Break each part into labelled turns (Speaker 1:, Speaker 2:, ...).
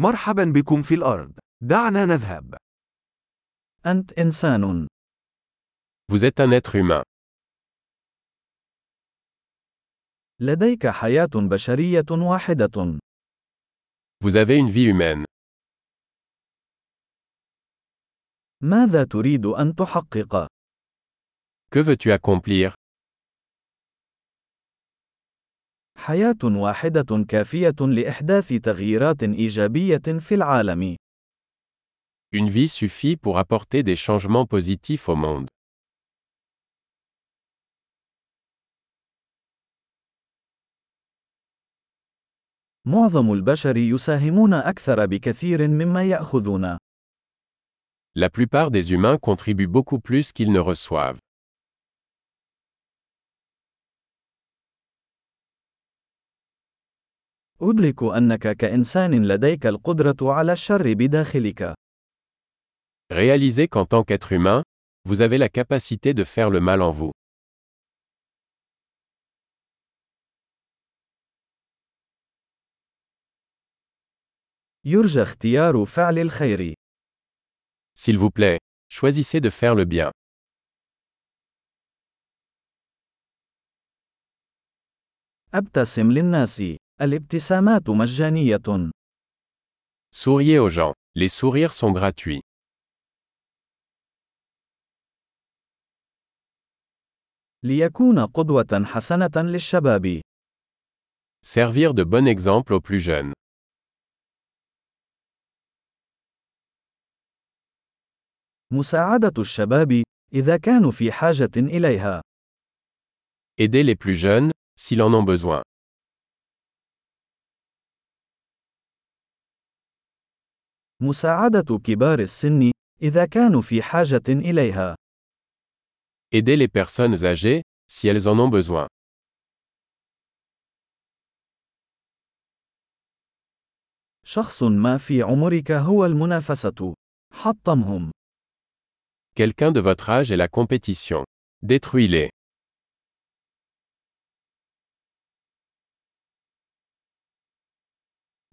Speaker 1: مرحبا بكم في الأرض. دعنا نذهب.
Speaker 2: أنت إنسان.
Speaker 3: Vous êtes un être humain.
Speaker 2: لديك حياة بشرية واحدة.
Speaker 3: Vous avez une vie humaine.
Speaker 2: ماذا تريد أن تحقق؟
Speaker 3: Que veux-tu accomplir
Speaker 2: حياة واحدة كافية لإحداث تغييرات إيجابية في العالم.
Speaker 3: Une vie suffit pour apporter des changements positifs au monde.
Speaker 2: معظم البشر يساهمون أكثر بكثير مما يأخذون.
Speaker 3: La plupart des humains contribuent beaucoup plus qu'ils ne reçoivent.
Speaker 2: أدرك أنك كإنسان لديك القدرة على الشر بداخلك.
Speaker 3: Réalisez qu'en tant qu'être humain, vous avez la capacité de faire le mal en vous.
Speaker 2: يرجى اختيار فعل الخير.
Speaker 3: S'il vous plaît, choisissez de faire le bien.
Speaker 2: أبتسم للناس. الابتسامات مجانية.
Speaker 3: Souriez aux gens. Les sourires sont gratuits.
Speaker 2: ليكون قدوة حسنة للشباب.
Speaker 3: Servir de bon exemple aux plus jeunes.
Speaker 2: مساعدة الشباب إذا كانوا في حاجة إليها.
Speaker 3: Aidez les plus jeunes, s'ils en ont besoin.
Speaker 2: مساعدة كبار السن إذا كانوا في حاجة إليها.
Speaker 3: Aidez les personnes âgées, si elles en ont besoin.
Speaker 2: شخص ما في عمرك هو المنافسة. حطمهم.
Speaker 3: Quelqu'un de votre âge est la compétition. Détruis-les.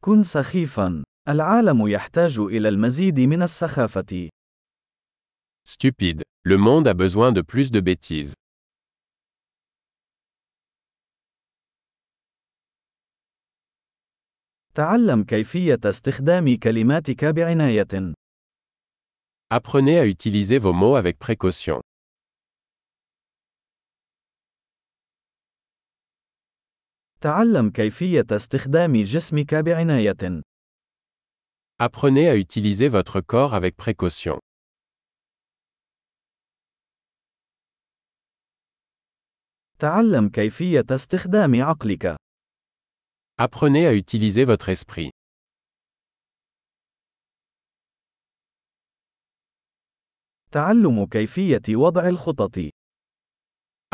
Speaker 2: كن سخيفا. العالم يحتاج إلى المزيد من السخافة.
Speaker 3: Stupide. Le monde a besoin de plus de bêtises.
Speaker 2: تعلم كيفية استخدام كلماتك بعناية.
Speaker 3: Apprenez à utiliser vos mots avec précaution.
Speaker 2: تعلم كيفية استخدام جسمك بعناية.
Speaker 3: Apprenez à utiliser votre corps avec précaution.
Speaker 2: تعلم كيفية استخدام عقلك.
Speaker 3: Apprenez à utiliser votre esprit.
Speaker 2: تعلم كيفية وضع الخطط.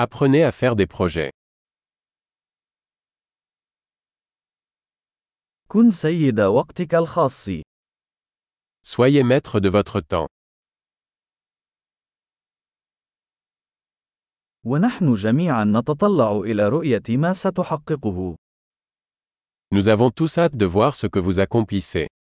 Speaker 3: Apprenez à faire des projets.
Speaker 2: كن سيد وقتك الخاص.
Speaker 3: Soyez maître de votre temps.
Speaker 2: ونحن جميعا نتطلع إلى رؤية ما ستحققه.
Speaker 3: Nous avons tous hâte de voir ce que vous accomplissez.